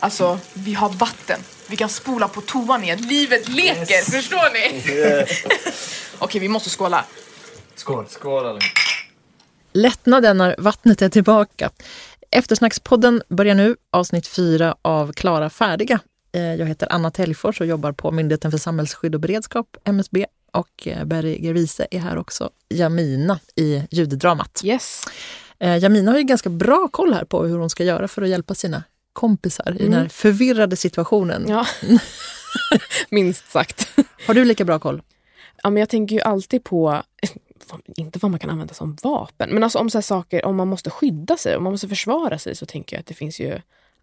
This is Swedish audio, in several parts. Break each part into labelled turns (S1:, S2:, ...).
S1: Alltså, vi har vatten. Vi kan spola på toan igen. Livet leker, förstår ni? Okej, vi måste skåla.
S2: Skål. Skål allihopa.
S3: Lättnaden när vattnet är tillbaka. Eftersnackspodden börjar nu, avsnitt fyra av Klara färdiga. Eh, Jag heter Anna Täljfors och jobbar på Myndigheten för samhällsskydd och beredskap, MSB. Och eh, Berry Gervise är här också. Jamina i ljuddramat.
S1: Yes.
S3: Eh, Jamina har ju ganska bra koll här på hur hon ska göra för att hjälpa sina kompisar i den här förvirrade situationen.
S4: Mm. Ja. Minst sagt.
S3: Har du lika bra koll?
S4: Ja, men jag tänker ju alltid på, vad- inte vad man kan använda som vapen, men alltså om så här saker, om man måste skydda sig, om man måste försvara sig, så tänker jag att det finns ju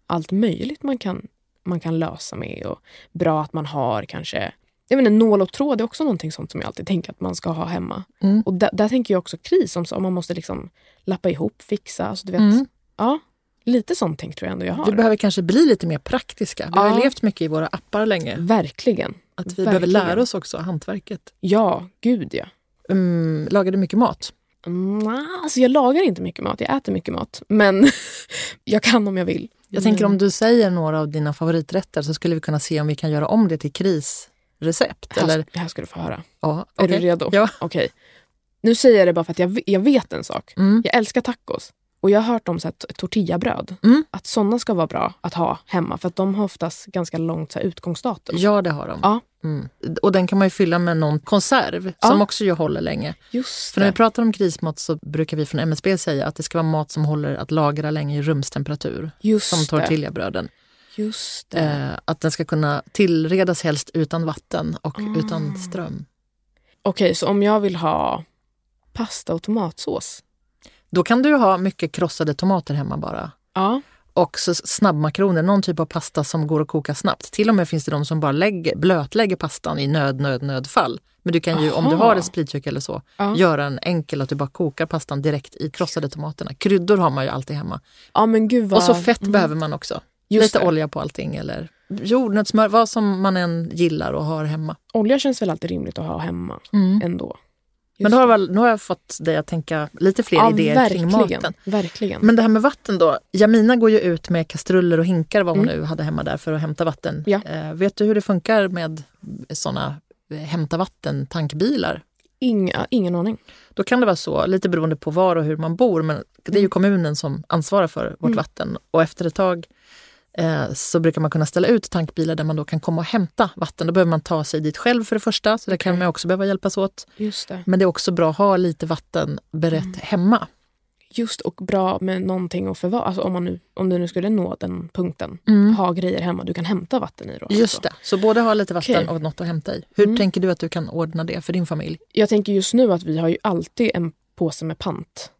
S4: allt möjligt man kan, man kan lösa med. Och bra att man har kanske, jag menar, nål och tråd är också någonting sånt som jag alltid tänker att man ska ha hemma.
S3: Mm.
S4: Och där, där tänker jag också kris, om, så, om man måste liksom lappa ihop, fixa, alltså du vet.
S3: Mm.
S4: Ja, lite sånt tänk tror jag ändå jag har.
S3: Vi behöver kanske bli lite mer praktiska. Vi har ju
S4: Ja.
S3: levt mycket i våra appar länge.
S4: Verkligen.
S3: Att vi
S4: Verkligen.
S3: behöver lära oss också hantverket.
S4: Ja, gud ja.
S3: Mm, lagar du mycket mat?
S4: Mm, alltså jag lagar inte mycket mat, jag äter mycket mat. Men jag kan om jag vill.
S3: Jag tänker
S4: Mm.
S3: om du säger några av dina favoriträtter så skulle vi kunna se om vi kan göra om det till krisrecept.
S4: Mm. Här,
S3: Eller,
S4: här ska du få höra.
S3: ja,
S4: Är
S3: okej.
S4: du redo?
S3: Ja.
S4: Okej. Nu säger jag det bara för att jag, ve- jag vet en sak.
S3: Mm.
S4: Jag älskar tacos. Och jag har hört om så här t- tortillabröd.
S3: Mm.
S4: Att sådana ska vara bra att ha hemma. För att de har oftast ganska långt så här, utgångsdatum.
S3: ja, det har de.
S4: Ja.
S3: Mm. Och den kan man ju fylla med någon konserv som
S4: Ja.
S3: också ju håller länge.
S4: Just
S3: För när vi
S4: det.
S3: pratar om krismat så brukar vi från MSB säga att det ska vara mat som håller att lagra länge i rumstemperatur.
S4: Just
S3: Som
S4: det.
S3: tortillabröden.
S4: Just det.
S3: Eh, att den ska kunna tillredas helst utan vatten och
S4: Ah.
S3: utan ström.
S4: Okej, så om jag vill ha pasta och tomatsås.
S3: Då kan du ha mycket krossade tomater hemma bara.
S4: Ja.
S3: och så snabbmakroner, någon typ av pasta som går att koka snabbt. Till och med finns det de som bara lägger, blötlägger pastan i nöd, nöd, nödfall. Men du kan ju, om du
S4: Aha.
S3: har ett spritkök eller så,
S4: Ja.
S3: göra en enkel att du bara kokar pastan direkt i krossade tomaterna. Kryddor har man ju alltid hemma.
S4: ja, men gud vad... Mm.
S3: Och så fett behöver man också.
S4: Just
S3: Lite
S4: det.
S3: olja på allting eller jordnötssmör, vad som man än gillar och har hemma.
S4: Olja känns väl alltid rimligt att ha hemma ändå.
S3: Mm. Men då har, väl, nu har jag fått dig att tänka lite fler idéer
S4: verkligen,
S3: kring maten.
S4: Verkligen.
S3: Men det här med vatten då. Jamina går ju ut med kastruller och hinkar vad hon nu hade hemma där för att hämta vatten.
S4: Ja.
S3: Eh, vet du hur det funkar med sådana hämta vatten-tankbilar?
S4: Inga, ingen aning.
S3: Då kan det vara så, lite beroende på var och hur man bor, men det är ju kommunen som ansvarar för vårt vatten. Och efter ett tag eh, så brukar man kunna ställa ut tankbilar där man då kan komma och hämta vatten. Då behöver man ta sig dit själv för det första, så det kan man också behöva hjälpas åt.
S4: Just det.
S3: Men det är också bra att ha lite vatten berett hemma.
S4: Just och bra med någonting att förvara. Alltså om, man nu, om du nu skulle nå den punkten. Ha grejer hemma du kan hämta vatten i. Då,
S3: Mm. Just
S4: alltså.
S3: det, så både ha lite vatten
S4: Okej. Mm.
S3: och något att hämta i. Hur tänker du att du kan ordna det för din familj?
S4: Jag tänker just nu att vi har ju alltid en påse med pant.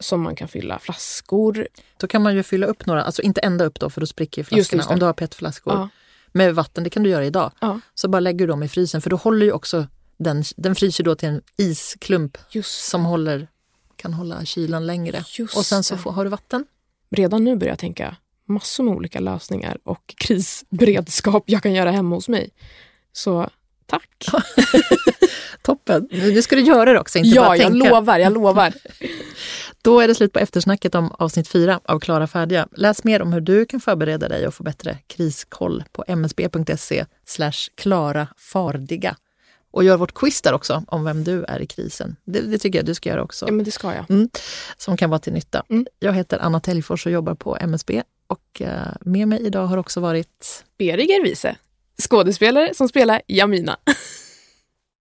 S4: Som man kan fylla flaskor.
S3: Då kan man ju fylla upp några, alltså inte ända upp då för då spricker ju flaskorna
S4: Just det, just det.
S3: om du har petflaskor.
S4: Ja.
S3: Med vatten, det kan du göra idag.
S4: Ja.
S3: Så bara lägger du dem i frysen för då håller ju också den, den fryser då till en isklump
S4: Just
S3: som håller, kan hålla kylan längre.
S4: Just
S3: och sen så
S4: det.
S3: får, har du vatten.
S4: Redan nu börjar jag tänka massor med olika lösningar och krisberedskap jag kan göra hemma hos mig. Så tack.
S3: Toppen! Nu ska du göra det också, inte bara
S4: ja,
S3: tänka.
S4: jag lovar, jag lovar.
S3: Då är det slut på eftersnacket om avsnitt 4 av Klara färdiga. Läs mer om hur du kan förbereda dig och få bättre kriskoll på msb.se klarafardiga. Och gör vårt quiz där också om vem du är i krisen. Det, det tycker jag du ska göra också,
S4: Ja, men det ska jag.
S3: mm. som kan vara till nytta.
S4: Mm.
S3: Jag heter Anna Täljfors och jobbar på MSB. Och eh, med mig idag har också varit
S4: Beriger Wiese, skådespelare som spelar Jamina.